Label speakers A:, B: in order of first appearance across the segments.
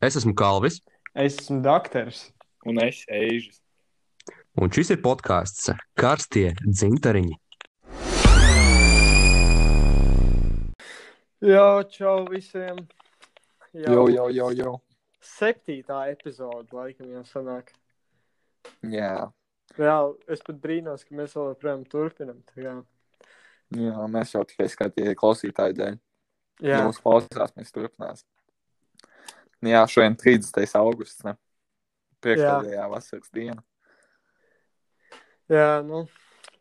A: Es esmu Kalvis,
B: Es esmu doktors.
C: Un es eižu.
A: un šis ir podkāsts Karstie dzintariņi.
B: Jā, čau visiem.
C: Jau, jau, jau, jau.
B: Septītā epizode, laikam, jau sanāk.
C: Jā,
B: Reāli, es pat brīnos, ka mēs vēl joprojām turpinam. tā kā.
C: jā, mēs jau tikai skatījāmies klausītāju dēļ. Jā,
B: Jā,
C: mums klausās, mēs turpināsim. Nu Jā, šodien 30. augusts. ne? Priekšpēdējā vasaras diena.
B: jā nu,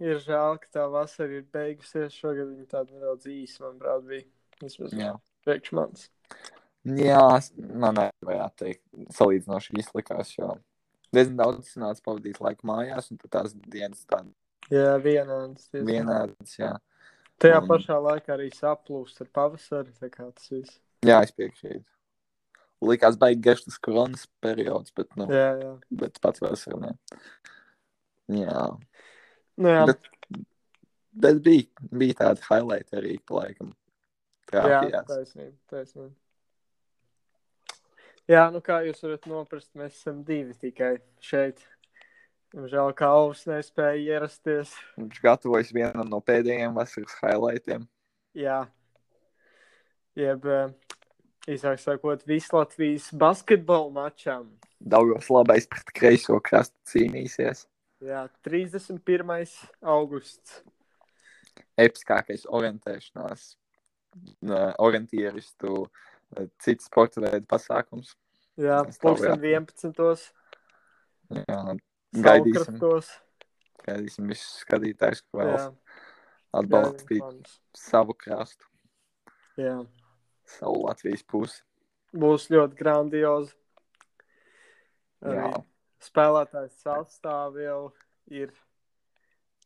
B: ir žēl, ka tā vasara ir beigusies. Šogad viņa tāda nedaudz īsa, manuprāt, bija. Vismaz
C: Jā,
B: priekš manis.
C: jā es- man nevajag teikt, salīdzinoši izlikās, jo diezgan daudz sanāca pavadīt laiku mājās, un tad tās dienas tādas
B: Jā, vienāds. diezgan.
C: vienādas. Jā,
B: Tajā
C: Un-
B: pašā laikā arī saplūst ar pavasari. Tā kā tas viss.
C: jā es piekrītu. Likās, baigi garš tas koronas periods, bet, nu,
B: Jā, jā.
C: bet pats vasarā ne. Jā.
B: Nu, jā.
C: Bet, bet bija, bija tāda highlight arī, laikam.
B: Jā,
C: Trāpījās.
B: taisnība, taisnība. Jā, nu kā jūs varat noprast, mēs esam divi tikai šeit. Žēl, ka Alvis nespēja ierasties.
C: Viņš gatavojas vienam no pēdējiem vasaras highlightiem.
B: Jā, jeb eh, īsāk sakot, Vislatvijas basketbola mačam.
C: Daudzos labais pret kreiso krastu cīnīsies.
B: Jā, 31. augusts.
C: Episkākais orientēšanās, nā, orientieristu, nā, cits sporta veidu pasākums.
B: Jā,
C: Tas tā
B: pulksten 11.
C: Jā, Gaidīsim.
B: Saukrastos.
C: gaidīsim visus skatītājus, kas vēlas
B: Jā,
C: atbalstīt
B: gaidām.
C: savu krastu,
B: Jā,
C: savu Latvijas pusi.
B: būs ļoti grandiozi.
C: Jā,
B: Arī spēlētājs sastāvā jau ir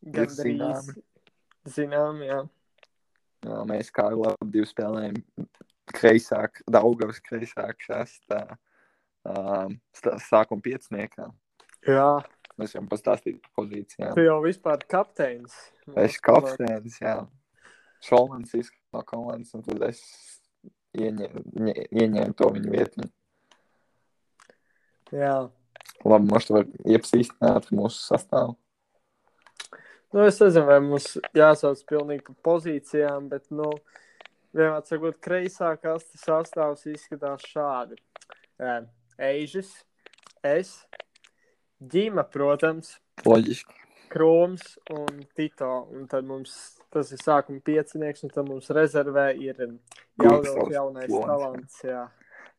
B: gandrīz
C: zināmi.
B: zināms. Jā.
C: jā, mēs kā labi divi spēlējam kreisāk, Daugavas kreisāk krastā. Um, stā- sākuma pieciniekā.
B: jā,
C: Mēs jau pastāstījām par pozīcijām.
B: tu jau vispār kapteinis.
C: Es kapteinis, jā. Šolmans izskatās no komandas, un tad es ieņēmu, ņē- ieņēmu to viņa vietu.
B: Jā,
C: Labi, mums tu var iepazīstināt ar mūsu sastāvu.
B: nu es nezinu, vai mums jāsauc pilnīgi pa pozīcijām, bet, nu, vienmēr sakot, kreisākās sastāvs izskatās šādi. Ē, Eižis, es, Džima, protams,
C: Loģiski.
B: Krūms un Tito. Un tad mums tas ir sākuma piecinieks, un tad mums rezervē ir
C: Krūms,
B: Jaudovs, jaunais
C: Krūms.
B: talants. Jā.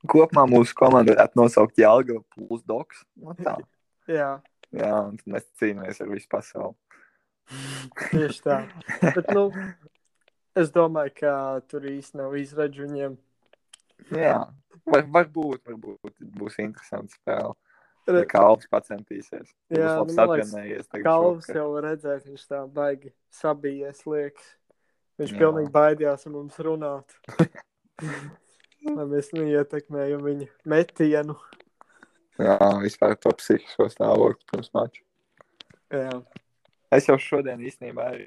C: Kopumā mūsu komandu varētu nosaukt Jālgava plus Doks. Nu tā.
B: jā,
C: Jā, un tad mēs cīnāmies ar visu pasauli.
B: tieši tā. Bet, nu, es domāju, ka tur īsti nav izredzi viņiem.
C: Jā, var, varbūt, varbūt būs interesanti spēle.
B: Re-
C: Kalvis pacentīsies.
B: Jā,
C: Jā,
B: nu,
C: viņš
B: man
C: labi
B: liekas,
C: atrenējies. tagad
B: Kalvs
C: šovakar.
B: jau redzēs, viņš tā baigi sabijies, liekas. Viņš
C: Jā.
B: jā. pilnīgi baidījās ar mums runāt. Lai mēs neietekmējam viņa metienu.
C: Jā, vispār to psihisko stāvokli pirms mača.
B: Jā,
C: Es jau šodien īstenībā arī,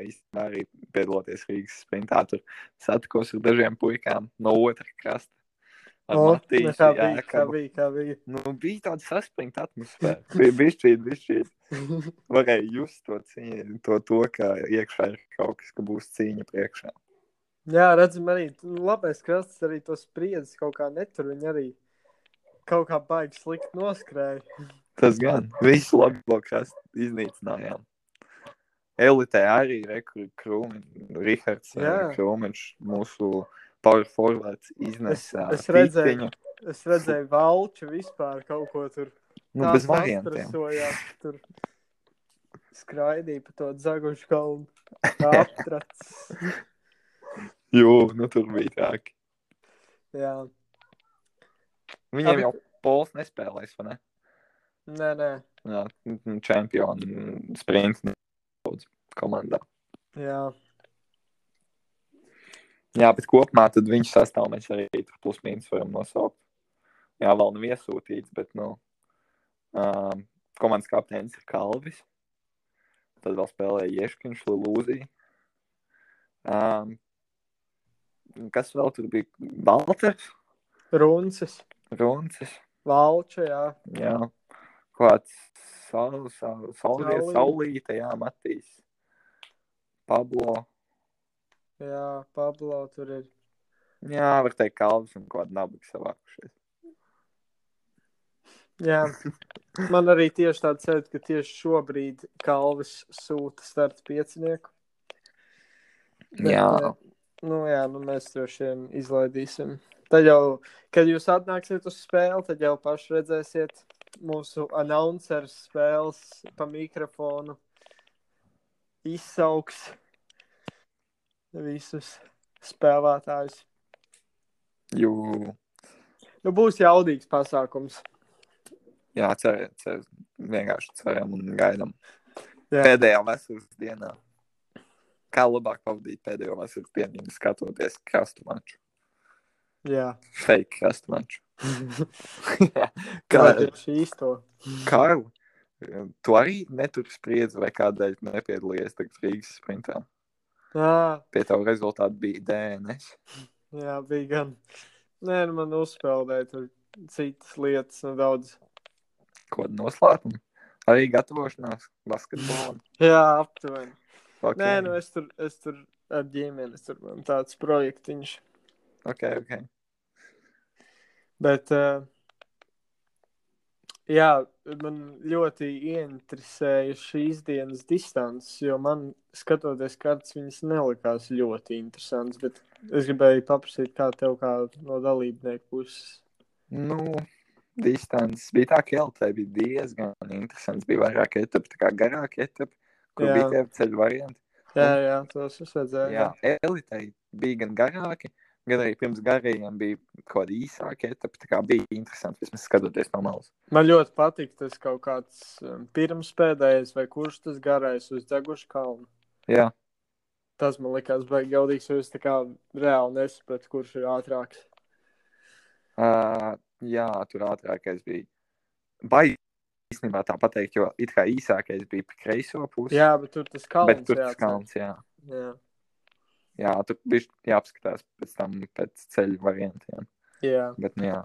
C: īstenībā arī piedaloties Rīgas sprintā. Tur satikos ar dažiem puikām no otras krasta. Ar
B: O, nu,
C: Matīsu
B: kā bija, kā
C: Jēkabu.
B: bija, kā bija.
C: Nu, bija tāda saspringta atmosfēra. Bija bišķīt, bišķīt. Varēja just to cīņu, to, to, ka iekšā ir kaut kas, ka būs cīņa priekšā.
B: Jā, redzam, arī nu, labais krasts arī to spriedzes kaut kā netur. Viņi arī kaut kā baigi slikti noskrēja.
C: Tas gan. Visu labo krastu iznīcinājām. Elite arī rekrūmiņš, Rihards
B: Jā.
C: Krūmiņš, mūsu power forwards iznesa.
B: Es- es redzēju.
C: titiņu.
B: Es redzēju, valču vispār kaut ko tur.
C: Nu,
B: tā
C: bez variantiem.
B: sastrasojās, ka Tur skraidīja pa to zagušu kalnu. Kā Aptrats.
C: Jū, nu tur bija traki.
B: Jā,
C: Viņiem
B: Abi-
C: jau pols nespēlēs, vai ne?
B: nē, nē.
C: Jā, nu, čempioni sprints daudz komandā.
B: Jā,
C: Jā, bet kopumā tad viņu sastāv mēs arī tur plus mīnus varam nosaukt. Jā, vēl nav iesūtīts, bet, nu, um, komandas kapteinis ir Kalvis. Tad vēl spēlēja Ieškiņš, Lūzija. Um, kas vēl tur bija? Valters,
B: Runcis,
C: Runcis.
B: Valča, jā.
C: Jā, kāds saul, saul, saulriet,
B: Saulīt.
C: saulīte, jā, Matīs. Pablo.
B: Jā, Pablo tur ir.
C: Jā, var teikt, Kalvis un kāda nabaga savākušies.
B: Jā. Man arī tieši tāds sajūta, ka tieši šobrīd Kalvis sūta starta piecinieku. Bet, eh,
C: Jā,
B: Nu, jā, nu mēs droši vien izlaidīsim. Tad jau, kad jūs atnāksiet uz spēli, tad jau paši redzēsiet mūsu announcers spēles pa mikrofonu. Izsauks visus spēlētājus.
C: jū.
B: Nu, būs jaudīgs pasākums.
C: Jā, ceram, cer, vienkārši ceram un gaidām.
B: Jā.
C: Pēdējā vasaras dienā. Kā labāk pavadīt pēdējo vasaras dienu, skatoties krastu maču?
B: Jā,
C: Fake krastu maču.
B: kā
C: Kā,
B: tieši īsto.
C: Kārl, tu arī neturi spriedzi, vai kādēļ tu nepiedalījies tagad Rīgas sprintā?
B: Jā,
C: Pie tava rezultātu bija DNS.
B: jā, bija gan. Nē, nu, man uzspēlēja tur citas lietas, nedaudz.
C: Ko noslēpumu? Arī gatavošanās basketbolam.
B: Jā, aptuveni.
C: Okay.
B: Nē, nu es tur, es tur ar ģimeni, es tur man tāds projektiņš.
C: okay, okay.
B: Bet, uh, jā, man ļoti ieinteresēja šīs dienas distances, jo man, skatoties kartes, viņas nelikās ļoti interesantas. Bet es gribēju paprasīt, kā tev kā no dalībnieku puses.
C: Nu, distance bija tā, ka LT bija diezgan interesants. Bija vairāk etapu, tā kā garāk etapu, kur
B: Jā.
C: jā. bija tie ceļu varianti.
B: Jā, jā, tos es redzēju.
C: Jā, elitei bija gan garāki, gan arī pirms garajiem bija kaut kāda īsāka etapa. Tā kā bija interesanti, vismaz skatoties no malas.
B: Man ļoti patīk tas kaut kāds um, pirmspēdējais vai kurš tas garais uz degušu kalnu.
C: Jā,
B: Tas man likās, ka gaudīgs jau es tā kā reāli nesapratu, kurš ir ātrāks.
C: uh, jā tur ātrākais bija. Baigi īstenībā tā pateikt, jo it kā īsākais bija pa kreiso pusi.
B: Jā, bet tur tas kalns.
C: bet tur tas kalns, jā.
B: Jā,
C: Jā, tur bija jāapskatās pēc tam pēc ceļu variantiem.
B: jā.
C: Bet, nu, jā,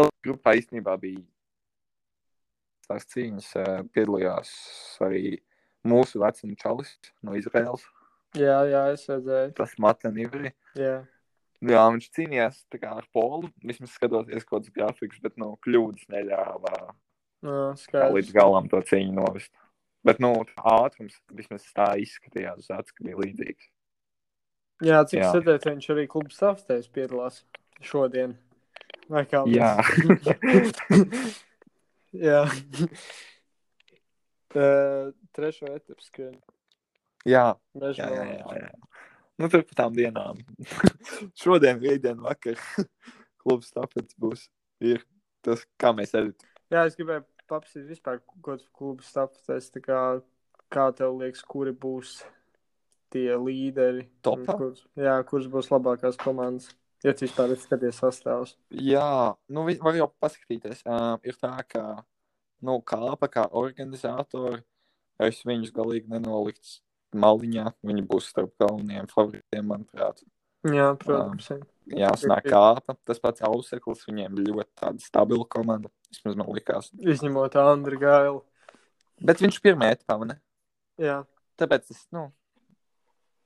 C: L grupā īstenībā bija tās cīņas. eh, Piedalījās arī mūsu vecuma čalis no Izraels.
B: jā, jā es redzēju.
C: Tas Matanivri.
B: Jā,
C: Jā, viņš cīnījās tā kā ar polu, vismaz skatoties kaut kādas grafikas, bet, nu, kļūdas neļāva
B: no, Nu,
C: tā līdz
B: skaidrs.
C: galam to cīņu novest. Bet, nu, tā ātrums vismaz tā izskatījās uz acu, ka bija līdzīgs.
B: Jā, cik
C: Jā.
B: sēdēt, viņš arī klubu savstēs piedalās šodien. Vai kā? mēs-
C: Jā,
B: jā. Tā, Trešo etapu skrien.
C: jā,
B: Meža
C: jā, jā,
B: malā.
C: jā, jā. Nu, tur pa tām dienām. Šodien, rītdien, vakar klubs tāpēc būs. Ir tas, kā mēs editējam.
B: Jā, es gribēju paprasīt vispār, ko tu klubu savstēs. tā Kā, kā tev liekas, kuri būs tie līderi?
C: Topā?
B: Kurš, jā, kurš būs labākās komandas? Ja tu vispār esi skaties sastāvs.
C: Jā, nu, vi- var jau paskatīties. Uh, ir tā, ka, nu, kāpa kā organizatori, es viņus galīgi nenoliktu maliņā. Viņi būs starp galvenajiem favorītiem, manuprāt.
B: Jā, protams. jā.
C: Jā, snāk kāpa. Tas pats auseklis, viņiem ļoti tāda stabila komanda. Vismaz man likās.
B: Izņemot Andru Gailu.
C: Bet viņš pirmajā etapā, vai ne?
B: Jā.
C: Tāpēc tas, nu,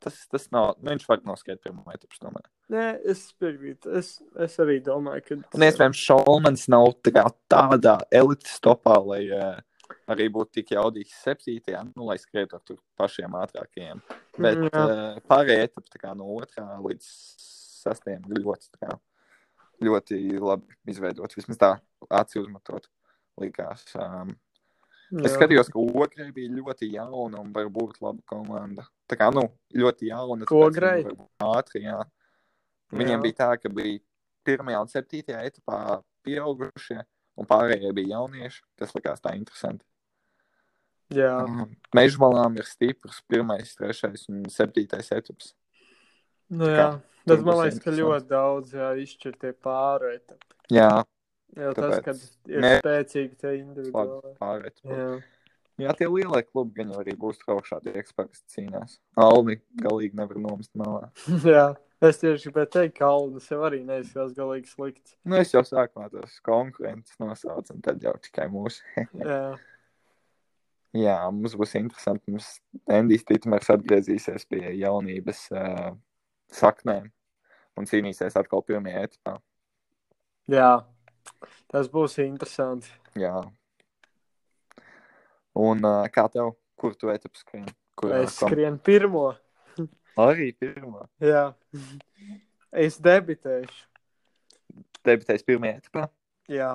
C: tas, tas nav. Nu, viņš var noskaidrot pirmo etapu, es domāju.
B: Nē, es piekrītu. Es, es arī domāju, ka.
C: Un iespējams, Šalmans nav tā kā tādā elites topā, lai uh, arī būtu tik jaudīgs septītajā, nu, lai skrietu ar tur pašiem ātrākajiem. Bet
B: Jā.
C: uh, pārējā etapa tā kā no otrā līdz sastajam ir ļoti, tā kā, ļoti labi izveidot. Vismaz tā aci uzmetot likās. Um,
B: jā.
C: es skatījos, ka ograi bija ļoti jauna un varbūt laba komanda. Tā kā, nu, ļoti jauna. tāpēc
B: Ograi?
C: viņi varbūt Ātri, jā. Viņiem
B: Jā.
C: bija tā, ka bija pirmā un septītajā etapā pieaugušie, un pārējie bija jaunieši. Tas likās tā interesanti.
B: Jā.
C: Meža malām ir stiprs, pirmais, trešais un septītais etapas.
B: Nu,
C: kā,
B: jā.
C: tur
B: Bet man
C: būs
B: liekas, ka ļoti
C: interesanti.
B: daudz jā, izšķir tie pāri. etapi.
C: Jā,
B: Jo tas,
C: Tāpēc-
B: kad ir
C: Nē.
B: spēcīgi tie individuāli.
C: labi, pārējais.
B: Jā.
C: Jā, tie lielie klubi gan jau arī būs traušādi eksperti cīnās. Alvi galīgi nevar nomest malā.
B: jā. Es tieši gribēju teikt, ka Kalniņš jau arī neizskatās galīgi slikti.
C: Nu, es jau sākumā tos konkurentus nosaucu, un tad jau tikai mūsu.
B: Jā,
C: Jā, mums būs interesanti. Mums Endijs Pitmers atgriezīsies pie jaunības uh, saknēm un cīnīsies atkal pirmajā etapā.
B: jā. tas būs interesanti.
C: Jā. Un uh, kā tev, kur tu etapu skrien? Kur eh,
B: Es skrienu pirmo.
C: Arī pirmā.
B: Jā. Es debitēšu.
C: Debitēs pirmajā etapā.
B: Jā,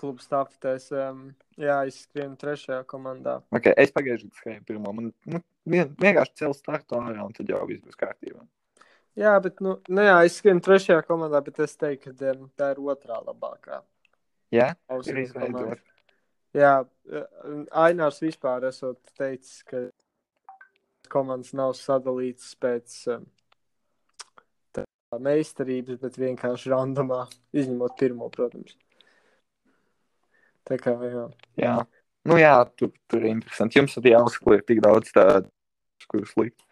B: klubs tāpatēs. Um, jā, es skrienu trešajā komandā.
C: Okay, es pagājušajā gadā skrēju pirmo. Man nu, vien- vienkārši cēlus startu ārā, un tad jau viss būs kārtībā.
B: Jā, bet, nu, nu jā, es skrienu trešajā komandā, bet es teiktu, ka um, tā ir otrā labākā.
C: Jā,
B: Ausīs
C: ir izveidota.
B: komanda. Jā, um, Ainārs vispār esot teicis, ka komandas nav sadalītas pēc um, tā meistarības, bet vienkārši randomā, izņemot pirmo, protams. Tā kā, jā.
C: Jā, nu, jā tur, tur ir interesanti. Jums ir jāuzklāj tik daudz tādu, kurus likt.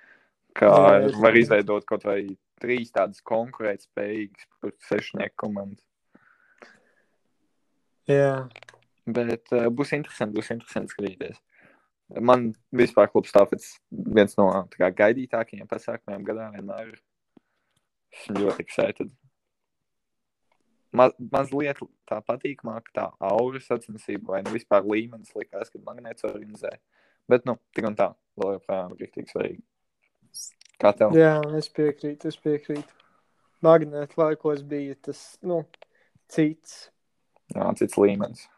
C: Kā
B: Jā, jā, es
C: var
B: saprotu.
C: izveidot kaut vai trīs tādas konkurētspējīgas par sešnieku komandas.
B: jā.
C: Bet uh, būs interesanti, būs interesanti skatīties. Man vispār klubs tāpēc viens no tā kā, gaidītākajiem pasākumiem gadā vienmēr ir. Esmu ļoti excited. Ma- Mazliet tā patīkamāk, tā aura sacensība vai nu vispār līmenis likās, kad magnēts organizē. Bet, nu, tik un tā, vēl joprojām ir tik svarīgi. Kā tev?
B: Jā, es piekrītu, es piekrītu. Magnēta laikos bija tas, nu, cits.
C: Jā, cits līmenis.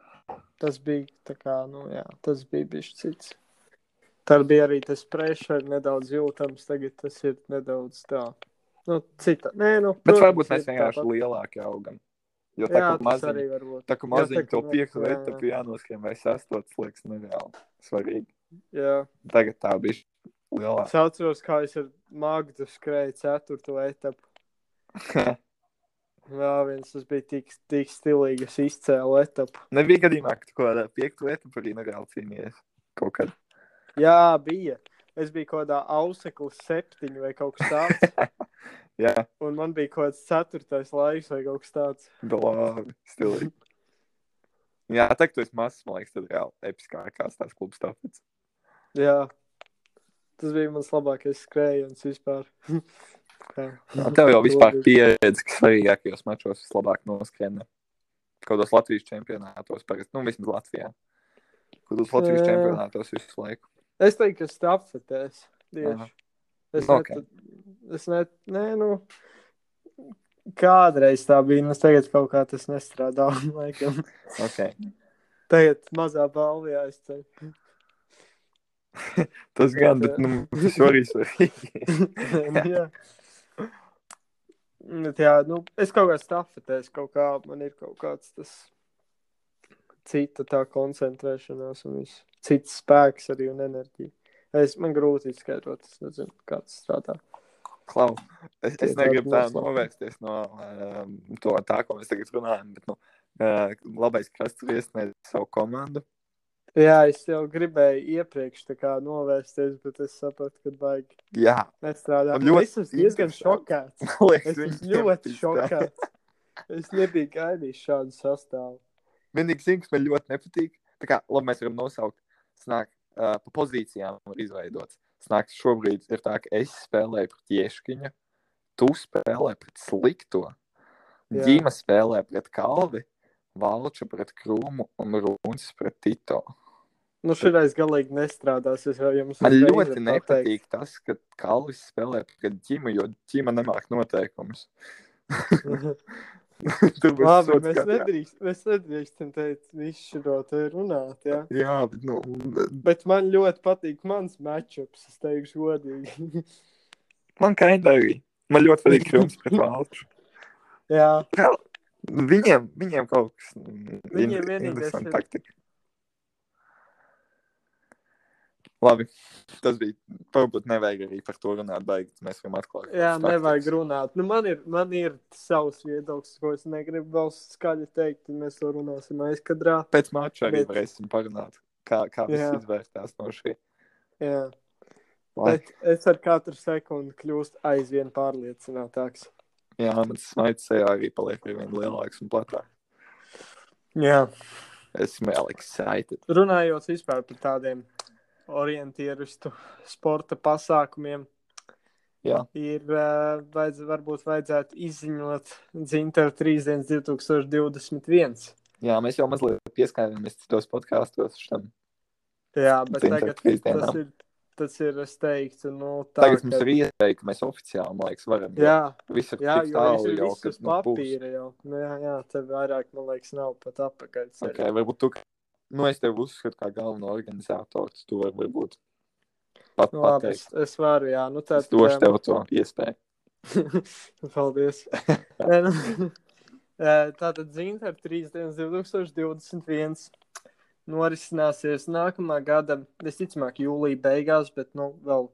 B: Tas bija tā kā, nu, jā, tas bija bijis cits. Tad bija arī tas pressure nedaudz jūtams, tagad tas ir nedaudz tā. Nu, cita. Nē, nu,
C: Bet
B: protams,
C: varbūt mēs
B: ir
C: vienkārši
B: tāpat.
C: lielāki augam. Jo tā
B: Jā,
C: kā
B: tas
C: maziņi
B: arī var būt.
C: Tā kā
B: Jā, tā
C: maziņā to
B: kā mēs-
C: piektu
B: jā,
C: vietu, tad jānoskrien vai sastots, liekas, nereāli svarīgi.
B: Jā,
C: Tagad tā bija lielāka.
B: es atceros, kā es ar Magdu skrēju ceturto etapu. Vēl viens, tas bija tik, tik stilīgi, es izcēlu etapu.
C: Nebija gadījumā, ka tu kaut kādā piektu vietu par īnu reāli cīnījies. Kaut kad.
B: Jā, bija. Es biju kaut kādā auseklis septiņi vai kaut kas tāds,
C: Jā,
B: un man bija kaut kāds ceturtais laiks vai kaut kas tāds.
C: labi, stilīgi. Jā, tā kā tu esi mazs, man liekas, tad reāli episkākās tās klubs tāpēc.
B: Jā, tas bija mans labākais skrējiens vispār. Tā.
C: Jā, Nu, tev jau vispār
B: Labi.
C: pieredze, ka svarīgākajos mačos vislabāk noskrien. Kaut kādos Latvijas čempionātos, parasti, nu vismaz Latvijā. Kaut kādos Latvijas
B: Jā.
C: čempionātos visu laiku.
B: Es teiktu, ka stāpfetēs tieši.
C: Aha.
B: Es
C: Ok.
B: okay. ne, es ne, nē, nu, kādreiz tā bija, nu, tagad kaut kā tas nestrādā, laikam.
C: Okay.
B: Tagad mazā balvu jāizceļ.
C: Tas gan, bet
B: Bet,
C: nu, tas jau arī svarīgi.
B: Nu, jā. Bet, jā, nu, es kaut kā stāpfetēs, kaut kā man ir kaut kāds tas cita tā koncentrēšanās un viss. Cits spēks arī un enerģija. Es, man grūti izskaidrot, es nezinu, kā tas strādā.
C: Klau, es, es
B: Tie
C: negribu tā
B: tādi
C: novērsties no um, to, tā, ko mēs tagad runājam, bet nu, uh, labais krasts ir iesniedz savu komandu.
B: Jā, es jau gribēju iepriekš tā kā novērsties, bet es sapratu, ka baigi
C: Jā,
B: nestrādā.
C: Man ļoti
B: Es esmu diezgan
C: interesanti.
B: šokēts.
C: man liekas,
B: Es esmu
C: viņiem
B: ļoti
C: tas tā.
B: šokēts. Es nebiju gaidījis šādu sastāvu.
C: Vienīgi zinu, kas man ļoti nepatīk. Tā kā, labi, mēs varam nosaukt, snāk, uh, pa pozīcijām var izveidots. Snāk, šobrīd ir tā, ka es spēlēju pret Ieškiņu, tu spēlē pret Slikto,
B: Jā.
C: Dīma spēlē pret Kalvi, Valča pret Krūmu un Rūns pret Tito.
B: Nu, šoreiz galīgi nestrādās. Es jau jums
C: Man
B: uzreiz
C: ļoti
B: varu
C: nepatīk tas, ka Kalvis spēlē pret ģimu, jo ģima nemāk noteikumus.
B: pateikt.
C: Tur būs
B: Labi,
C: sots
B: mēs,
C: katrā.
B: nedrīkst, mēs nedrīkstam teikt, visu šo te runāt. Ja?
C: Jā, bet nu,
B: Bet man ļoti patīk mans matčups, es teikšu, godīgi.
C: man kaitā arī. Man ļoti patīk Krūms pret Valču.
B: Jā,
C: Nu, Viņiem, viņiem kaut kas
B: Viņiem
C: Viņiem
B: vienīgais ir-
C: interesanti taktika. Labi, tas bija, varbūt nevajag arī par to runāt, baigi, mēs varam atklāt.
B: jā
C: kādas
B: nevajag
C: taktikas.
B: runāt. Nu, man, ir, man ir savs viedoklis, ko es negribu vēl skaļi teikt, un mēs to runāsim aizkadrā.
C: Pēc mača arī
B: Bet-
C: varēsim parunāt, kā, kā viss
B: Jā.
C: izvērtās no šī.
B: Jā.
C: Lai-
B: Bet es ar katru sekundi kļūstu aizvien pārliecinātāks.
C: Jā, man tas smaids sejā arī paliek ar vien lielāks un platāks.
B: Jā.
C: Esmu vēl excited.
B: Runājot vispār par tādiem orientieristu sporta pasākumiem,
C: Jā.
B: ir eh, vajadz, varbūt vajadzētu izziņot Zintra 3.2021.
C: Jā, mēs jau mazliet pieskārāmies citos podkāstos. Štam.
B: Jā, bet
C: Dzintara
B: tagad
C: trīs
B: tas
C: dienām.
B: ir, tas ir, es teiktu, nu, tā,
C: Tagad mums ir iespēja, ka mēs oficiāli, man liekas, varam.
B: jā,
C: visu
B: jā,
C: tik
B: jo viņš
C: tālu
B: ir
C: jau,
B: viss
C: ka
B: uz
C: nu, būs.
B: papīra jau. Nu, jā, jā, tev vairāk, man liekas, nav pat apakaļ. ceļa.
C: Okay, varbūt tu, ka- nu, es tevi uzskatu kā galveno organizātoru. Tu to vari varbūt pat
B: Nu, labi, es,
C: pateikt.
B: es varu, jā, nu tā
C: Es došu tev to iespēju.
B: Paldies. Nē, nu, eh, Tātad Zintra 3. dienas 2021. Norisināsies nākamā gada, visticamāk, jūlija beigās, bet nu, vēl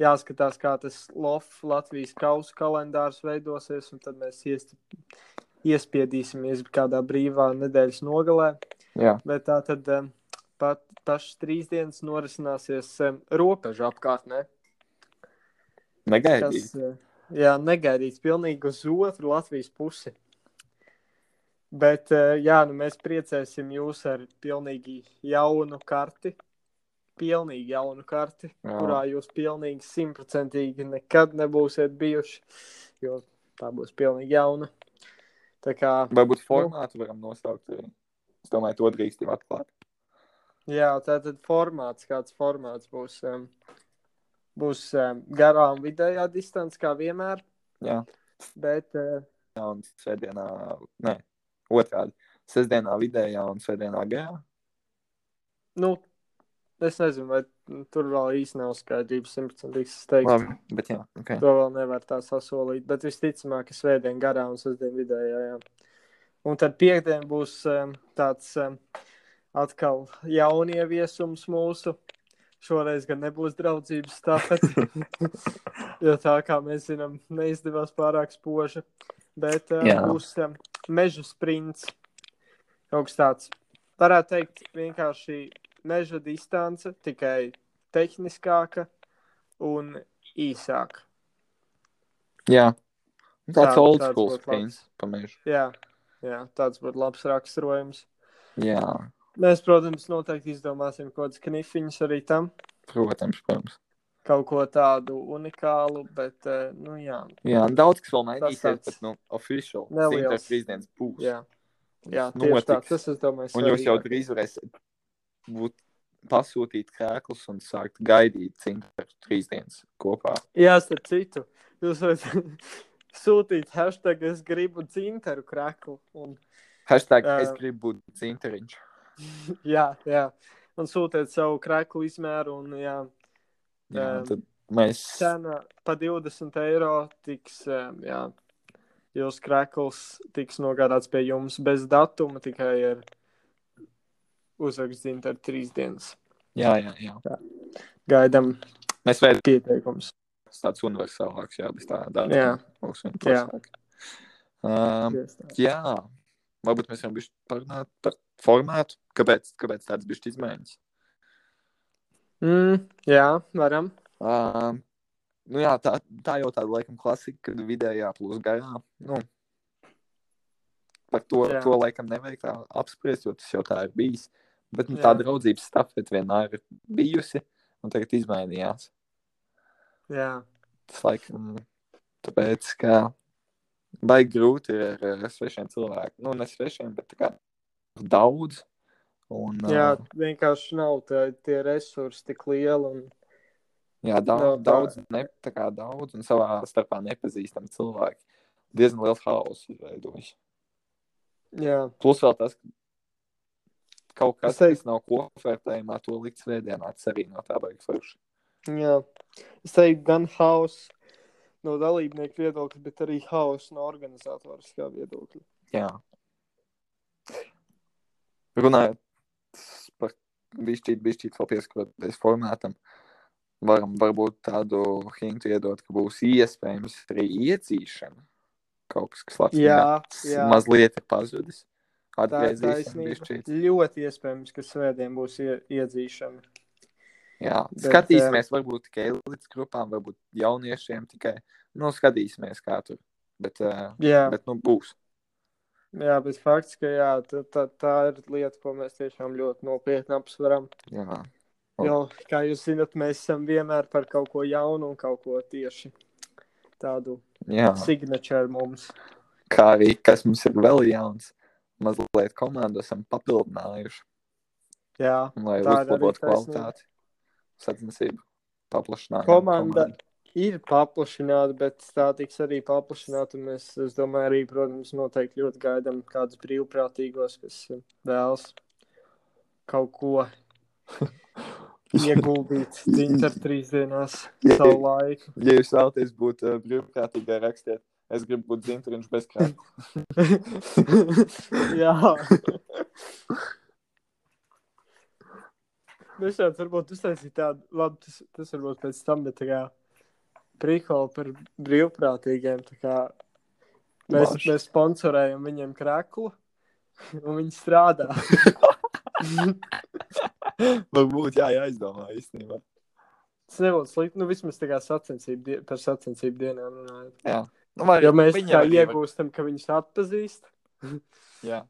B: jāskatās, kā tas LOF Latvijas kausa kalendārs veidosies, un tad mēs iest, iespiedīsimies kādā brīvā nedēļas nogalē.
C: Jā,
B: Bet tā tad em, pat pašas trīs dienas norisināsies em, robežu apkārtnē.
C: negaidīgi.
B: Kas, eh, jā, negaidīts. Pilnīgi uz otru Latvijas pusi. Bet eh, jā, nu mēs priecēsim jūs ar pilnīgi jaunu karti. Pilnīgi jaunu karti, jā.
C: Jā.
B: kurā jūs pilnīgi simtprocentīgi nekad nebūsiet bijuši. Jo tā būs pilnīgi jauna. Tā kā
C: Varbūt formātu varam nosaukt. arī. Es domāju, to drīkstam atklāt.
B: jā, tā tad formāts, kāds formāts būs. em, Būs em, garā un vidējā distance, kā vienmēr.
C: Jā.
B: Bet eh,
C: Jā, un svētdienā, nē, otrādi. Sestdienā vidējā un svētdienā gājā.
B: nu, es nezinu, vai tur vēl īsti nav skaidrības. Simtprocentīgi es teiktu,
C: Labi, bet jā, ok.
B: to vēl nevar tā sasolīt. Bet visticamāk, ka svētdien garā un sestdien vidējā. Jā. Un tad piekdien būs um, tāds um, atkal jaunie viesums mūsu. Šoreiz gan nebūs draudzības stāvokļa. jo tā kā mēs zinām, neizdevās pārāk spoži. Bet um,
C: Jā.
B: būs um, meža sprints. Kaut kas tāds. Varētu teikt, vienkārši meža distance, tikai tehniskāka un īsāka.
C: Jā, tāds
B: Tā-
C: old
B: tāds
C: school
B: būtu
C: sprints
B: labs.
C: pa mežu.
B: Jā, jā tāds būtu labs raksturojums.
C: Jā,
B: Mēs, protams, noteikti izdomāsim kaut kādas knifiņas arī tam.
C: protams, protams.
B: Kaut ko tādu unikālu, bet, eh, nu, jā,
C: Jā, daudz kas vēl mainīsies,
B: tāds
C: bet, nu, oficiāli
B: neliels.
C: Sintēs prezidents būs.
B: jā, jā
C: Tas
B: tieši tā.
C: notiks.
B: Tas, es domāju,
C: Un jūs jau
B: svarīgāk.
C: drīz varēsiet būt pasūtīt krēklus un sākt gaidīt Sintēs trīs dienas kopā.
B: Jā, starp citu, jūs varat sūtīt hashtag es gribu dzinteru kraklu. Un,
C: Hashtag
B: Jā.
C: es gribu būt Sinteriņš.
B: jā, jā, un sūtiet savu kraklu izmēru un, jā,
C: Jā,
B: Jā.
C: tad mēs.
B: cena pa 20 eiro tiks. em, Jā, jūsu krāklis tiks nogādāts pie jums bez datuma, tikai ar uzrakstu ar trīs dienas.
C: Jā, jā, jā.
B: Gaidām
C: Mēs vēl
B: pieteikumus.
C: tāds universālāks, jā, bez tā dāta.
B: Jā.
C: būs
B: Jā.
C: vienkāršāk. Um,
B: Tieši tā.
C: jā, varbūt mēs varam bišķi parunāt par formātu. Kāpēc, kāpēc tāds bišķi izmaiņas?
B: Mm, jā, varam.
C: Um, nu jā, tā, tā jau tāda laikam klasika, kad vidējā plus garā. Nu, par to,
B: Jā.
C: to laikam nevajag tā apspriest, jo tas jau tā ir bijis. Bet nu,
B: Jā.
C: tā draudzības stafete vienmēr ir bijusi un tagad izmainījās.
B: Jā,
C: Tas laikam tāpēc, ka baigi grūti ir ar eh, svešiem cilvēkiem. Nu, ne svešiem, bet tā kā daudz. Un,
B: jā
C: eh,
B: vienkārši nav tā, tie resursi tik lieli. Un...
C: Jā,
B: Nav
C: daudz,
B: tā.
C: daudz, ne, tā kā daudz un savā starpā nepazīstami cilvēki. Diezgan liels haoss izveidojis.
B: Jā,
C: Plus vēl tas, ka kaut
B: Es
C: kas
B: teiktu-
C: tāds nav kopvērtējumā, to likt svētdienā, tas arī no tā baigas forši.
B: jā. Es teiktu, gan hauss no dalībnieku viedokļa, bet arī hauss no organizatoriskā viedokļa.
C: Jā. Runājot par bišķīt, bišķīt vēl pieskaroties formātam, varam varbūt tādu hintu iedot, ka būs iespējams arī iedzīšana. Kaut kas, kas Latvijā
B: Jā, jā.
C: mazliet ir pazudis.
B: Tā ir
C: Atgriezīsim
B: taisnība.
C: bišķīt.
B: Ļoti iespējams, ka svētdien būs ie- iedzīšana.
C: Jā,
B: Bet, eh,
C: skatīsimies, varbūt tikai elites grupām, varbūt jauniešiem tikai. Nu, skatīsimies, kā tur. Bet, uh,
B: Jā,
C: bet nu, būs.
B: jā bet fakts, ka jā, tā, tā, tā ir lieta, ko mēs tiešām ļoti nopietni apsveram.
C: Jā. O.
B: Jo, kā jūs zinat, mēs esam vienmēr par kaut ko jaunu un kaut ko tieši tādu
C: Jā.
B: signatūru mums.
C: Kā arī kas mums ir vēl jauns, mazliet komandu esam papildinājuši,
B: Jā,
C: un, lai
B: Tā ir arī taisnība.
C: uzlabotu kvalitāti, sacensību paplašinātu.
B: Komanda- ir paplašināta, bet tā tiks arī paplašināta. un Mēs, es domāju, arī, protams, noteikti ļoti gaidām kādus brīvprātīgos, kas eh, vēlas kaut ko ieguldīt cīņā ar trīs dienās
C: Jā.
B: savu laiku.
C: Ja jūs vēlaties būt uh, brīvprātīgā, rakstiet, es gribu būt dzimtenis bez krāpšanas.
B: Jā. Mēs jau Nu, varbūt uztaisīt tādu, labi, tas, tas varbūt pēc tam, bet tā kā prikoli par brīvprātīgiem, tā kā mēs,
C: Labi.
B: mēs sponsorējam viņiem kraklu, un viņi strādā.
C: Varbūt jā, jāizdomā īstenībā.
B: Tas nebūtu slikti, nu vismaz tā kā sacensību, die- par sacensību dienām runājot.
C: Nu, vai,
B: Jo mēs
C: viņi
B: tā
C: arī var-
B: iegūstam, ka viņus atpazīst,
C: Jā,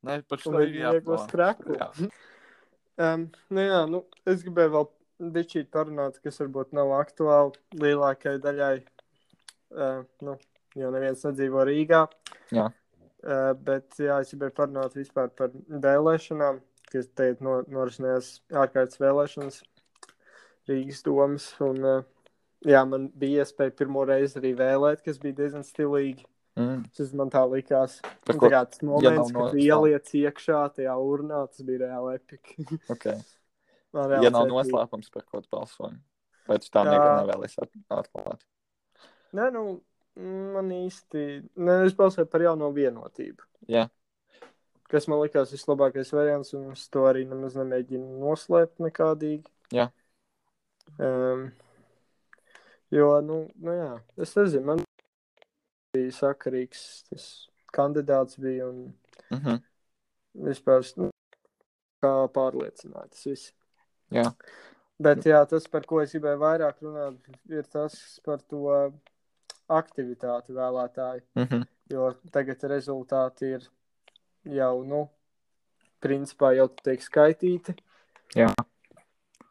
C: Nē, par
B: un
C: šo ir
B: viņi iegūst
C: jāpārāk.
B: kraklu.
C: Jā.
B: Um, nu jā, nu, es gribēju vēl dičīt parunāt, kas varbūt nav aktuāli lielākajai daļai. Uh, nu, jo neviens nedzīvo Rīgā.
C: Jā.
B: Uh, bet jā, es gribēju parunāt vispār par vēlēšanām, kas teikt no, norisinājās ārkārtas vēlēšanas Rīgas domas. Un, uh, jā, man bija iespēja pirmo reizi arī vēlēt, kas bija diezgan stilīgi.
C: Mm. Nu,
B: Tas man tā likās.
C: Par
B: Un
C: ko?
B: tā kā tas moments,
C: nav
B: kad tu
C: noslēpuma.
B: ieliec iekšā tajā urnā, tas bija reāli epiki.
C: Okay.
B: Man
C: Ja
B: reāli
C: nav
B: epiki.
C: noslēpums par kaut kādu balsojumu, vai tu tā
B: Jā.
C: nekad nevēlies at- atklāt?
B: Nē, nu, man īsti. Nē, es balsoju par jauno vienotību.
C: Jā.
B: Kas man likās vislabākais variants, un es to arī nemaz nemēģinu noslēpt nekādīgi.
C: Jā.
B: Um, jo, nu, nu, jā, es nezinu, man bija sakarīgs tas kandidāts bija un
C: Mm -hmm.
B: vispār nu, kā pārliecināts. Viss.
C: Jā.
B: Bet jā, tas, par ko es gribēju vairāk runāt, ir tas par to aktivitāti vēlētāju.
C: Mm -hmm.
B: Jo tagad rezultāti ir jau, nu, principā jau tiek skaitīti.
C: Jā.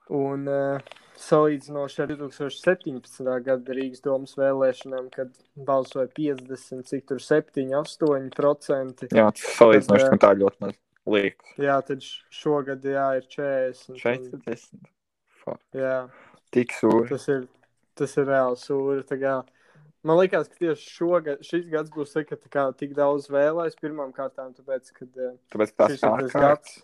B: Un eh, salīdzinoši ar 2017. gada Rīgas domas vēlēšanām, kad balsoja 50, cik tur 7, 8%.
C: Jā, tas salīdzinoši man tā ļoti maz liek.
B: Jā, tad š- šogad jā, ir 40. un-
C: 40. Fuck.
B: Jā,
C: Tik sūri.
B: tas ir, tas ir reāli sūri. tā kā. Man liekas, ka tieši šogad, šis gads būs tā, ka, tā kā, tik daudz vēlēs. Pirmkārt, tāpēc, ka
C: Tāpēc
B: tas
C: ka tas
B: ir tas gads.
C: ārkārtas.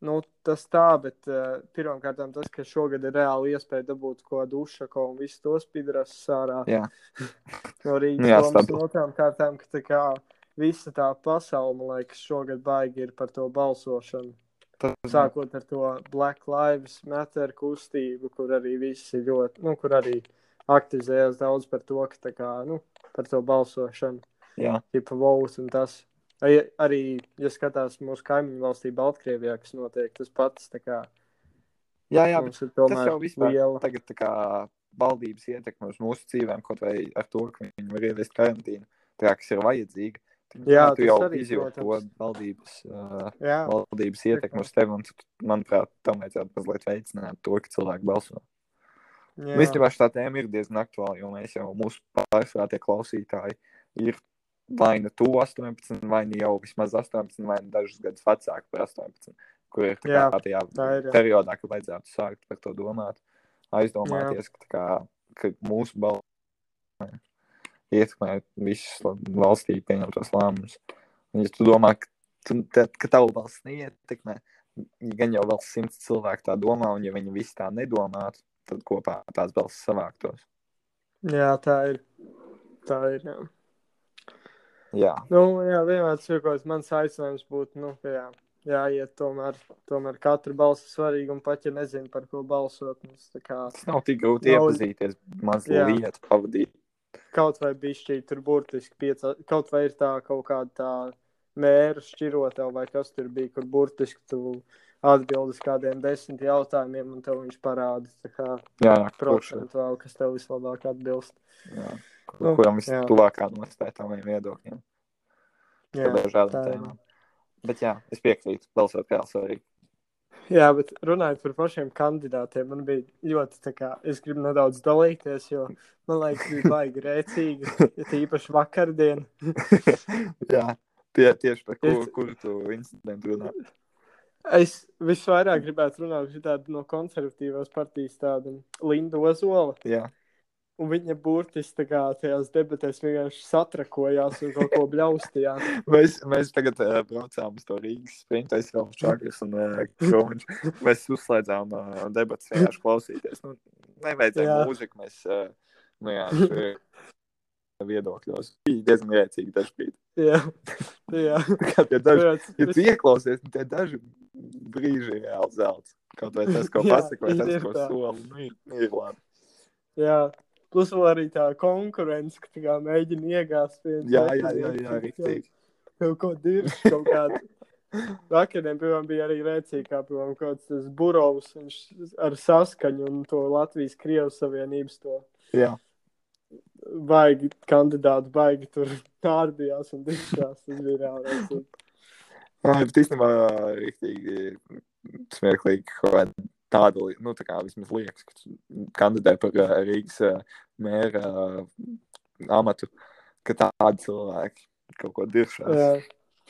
B: Nu, tas tā, bet uh, pirmkārt, tas, ka šogad ir reāli iespēja dabūt ko dušu, ko un visus tos pidras sārā.
C: Jā.
B: no Rīgas
C: Nu, jā,
B: domas
C: stabilu.
B: un otrām kārtām, ka tā kā visa tā pasaule, man liekas, šogad baigi ir par to balsošanu.
C: Tas
B: Sākot ar to Black Lives Matter kustību, kur arī viss ir ļoti, nu, kur arī aktivizējās daudz par to, ka tā kā, nu, par to balsošanu,
C: Jā.
B: tipa votes un tas. Ai- Arī, ja skatās mūsu kaimiņu valstī Baltkrievijā, kas notiek, tas pats, tā kā,
C: jā, jā, bet
B: mums ir
C: tas
B: tomēr
C: jau vispār
B: liela.
C: Nu, tagad tā kā valdības ietekme uz mūsu dzīvēm, kaut vai ar to, ka viņi var ieviest karantīnu, tā kā, kas ir vajadzīga. Tad nu,
B: Jā,
C: tu
B: tas
C: jau
B: arī,
C: izjūti to
B: protams.
C: valdības, uh,
B: Jā,
C: valdības ietekmi uz tevi, un tu, manuprāt, tam vajadzētu mazliet veicināt to, ka cilvēki balso.
B: jā.
C: Nu, Īstenībā šī tēma ir diezgan aktuāla, jo mēs jau mūsu pārsvarā tie klausītāji ir vai nu to 18, vai nu jau vismaz 18, vai nu dažus gadus vecāki par 18, kur ir tā
B: Jā,
C: kā tajā
B: tā ir, jā.
C: periodā, ka vajadzētu sākt par to domāt, aizdomāties, ka, tā kā, ka mūsu balss ietekmē visus la- valstī pieņemtos lēmumus. Un, ja tu domā, ka, tu, te- ka tavu balss neietekmē, gan jau vēl simts cilvēku tā domā, un ja viņi visi tā nedomātu, tad kopā tās balss savāktos.
B: jā, tā ir. Tā ir, jā.
C: Jā,
B: Nu, jā, vienmēr tas ir kaut kāds mans aicinājums būt, nu, ka jā, jāiet tomēr, tomēr katru balsu svarīgi un pat, ja nezinu, par ko balsot, mums tā kā
C: tas nav tik grūti
B: Nav-
C: iepazīties,
B: Jā.
C: mazliet lietu pavadīt.
B: kaut vai bišķī tur burtiski piecā, kaut vai ir tā kaut kāda tā mēra šķirotā, vai kas tur bija, kur burtiski tu atbildi uz kādiem desmit jautājumiem, un tev viņš parāda, tā kā
C: Jā, jā, kurš ir?
B: procentuāli, kas tev vislabāk atbilst.
C: Jā, kur-
B: Nu,
C: kuram
B: jā.
C: vislabākā nostāja vai viedokļiem
B: Jā,
C: par dažādām
B: tā ir.
C: tēmām. Bet jā, es piekrītu, balsot kā svarīgi.
B: jā, bet runājot par pašiem kandidātiem, man bija ļoti, tā kā, es gribu nedaudz dalīties, jo man liekas, bija baigi rēcīgi, ja tīpaši vakardien.
C: jā, tie, tieši par kuru,
B: Es-
C: kuru tu incidentu runā.
B: Es visvairāk gribētu runāt par tādu no konservatīvās partijas, tādu Lindu Ozola.
C: Jā,
B: Un viņa burtiski tā kā tajās debatēs vienkārši satrakojās un kaut ko bļaustījās.
C: mēs, mēs tagad uh, braucām uz to Rīgas sprinta, es vēl čakļus un uh, krūmiņš. Mēs uzslēdzām uh, debats vienkārši klausīties. Nu, nevajadzēja
B: Jā.
C: mūziku, mēs, uh, nu jā, šie viedokļos. Bija diezgan rēcīgi dažkārt.
B: Jā, jā.
C: Kā tie daži
B: Tāds,
C: Ja tu ieklausies, tad tie daži brīži ir reāli zelta. Kaut vai tas, ko
B: Jā,
C: pasaka, vai
B: ir-
C: tas,
B: ir
C: ko
B: tā.
C: sola. Nu, ir, nu, ir labi.
B: jā. Plus vēl arī tā konkurence, ka tā kā mēģina iegāzt viens
C: Jā,
B: otru,
C: jā, jā, jā,
B: kaut-
C: riktīgi.
B: Kaut ko dirž, kaut kādu. Vakariem piemēram, bija arī rēcīgi, kā piemēram, kaut kāds tas burovs viņš ar saskaņu un to Latvijas-Krievijas Savienības to
C: Jā,
B: baigi kandidāti, baigi tur nārdījās un diskusijās. Tas bija reāli. rēcīgi.
C: Ai, Ah, bet īstenībā riktīgi smieklīgi, ka tāda, li- nu, tā kā vismaz liekas, ka tu kandidē par ā, Rīgas ā, mēra ā, amatu, ka tādi cilvēki kaut ko diršās.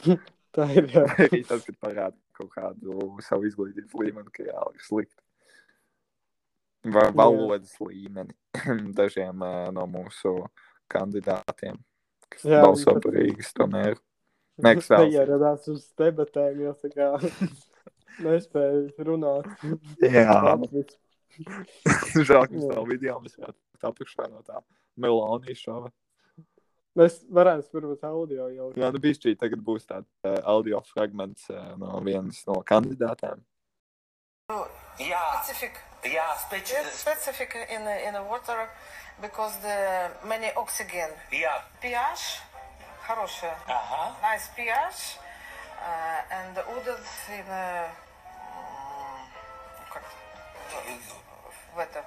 B: Jā. Tā ir. Jā.
C: Arī tas, kad parāda kaut kādu savu izglītības līmeni, ka jā, ir slikti. Vai valodas līmeni dažiem ā, no mūsu kandidātiem, kas
B: Jā,
C: jā, balso
B: un tad-
C: par Rīgas to mēru. Nekas vēl.
B: Neieradās uz debatēm, jo tā kā nespēja runāt.
C: Jā,
B: Latvijas.
C: Žēl, ka
B: Jā.
C: tā video mēs varētu tikt apakšā no tā Melānijas šova.
B: Mēs varētu varbūt audio jau.
C: Jā, nu bija šī tagad būs tāds uh, audio fragments uh, no vienas no kandidātēm.
D: Yeah,
E: specific
D: yeah, special.
E: specific in the, in the water because the many oxygen
D: Yeah,
E: pH хорошая
D: uh-huh.
E: nice pH uh, and the удод in the, м, как в этом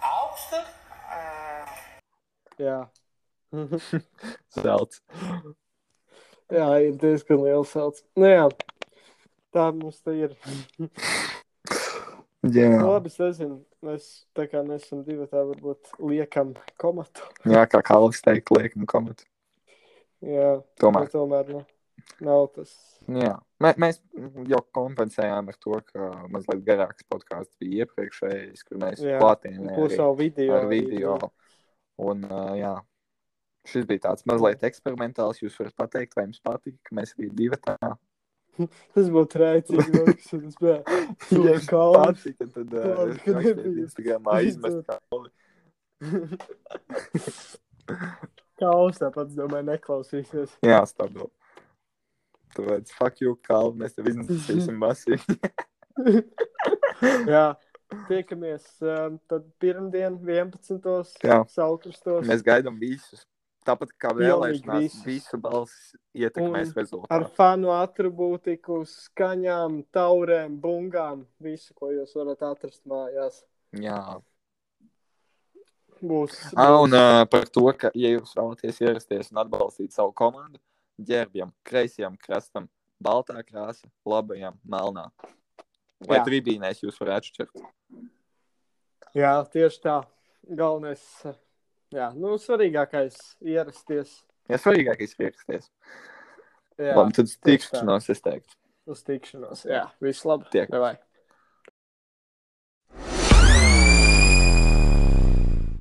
D: Augsta?
B: Jā.
C: Zelts.
B: jā, ir diezgan liels salds. Nu jā, tā mums te ir.
C: Jā,
B: Nu, labi, es nezinu, mēs tā kā mēs esam divi tā varbūt liekam komatu.
C: Jā kā Kalvis teikt, liekam komentu.
B: Jā,
C: Tomēr.
B: bet tomēr nu, nav tas.
C: Jā. Mē, mēs jau kompensējām ar to, ka mazliet garāks podkāsts bija iepriekšējais, kur mēs
B: Jā. Plus
C: platījām
B: vēl video.
C: ar
B: arī
C: video. Un, uh, jā, šis bija tāds mazliet eksperimentāls. Jūs varat pateikt, vai jums patika, ka mēs arī divi tādā
B: Tas būtu rēcīgi, jo tas bija.
C: Ja
B: Super
C: jums
B: kalns.
C: patika, tad
B: Labi,
C: uh,
B: ka
C: rakstiet
B: nebija.
C: Instagramā izmet kalni.
B: Kaus tāpat, domāju, neklausīsies.
C: Jā, stabilu. Tāpēc, fuck you, kalni, mēs tev
B: Mhm.
C: iznesīsim masīvi.
B: Jā, tiekamies um, tad pirmdien, 11.
C: Jā.
B: Saukrustos.
C: Mēs gaidām visus. Tāpat kā vēlēšanās,
B: visus.
C: visu balsis ietekmēs
B: Un Ar
C: rezultātu.
B: fanu attribūtiku, skaņām, taurēm, bungām, visu, ko jūs varat atrast mājās.
C: Jā.
B: Būs.
C: Ah, un uh, par to, ka, ja jūs vēlaties ierasties un atbalstīt savu komandu, ģērbjam, kreisajam krastam, baltā krāsa, labajam, melnā. Vai
B: Jā.
C: tribīnēs jūs varētu atšķirt?
B: Jā, tieši tā. Galvenais, eh, jā, nu, svarīgākais ierasties.
C: Ja svarīgākais ir ieraksties.
B: Jā,
C: Labi, tad
B: tieši tā.
C: tikšanos, es teiktu.
B: uz tikšanos. Jā, viss labi.
C: Tiekamies.
B: Vai.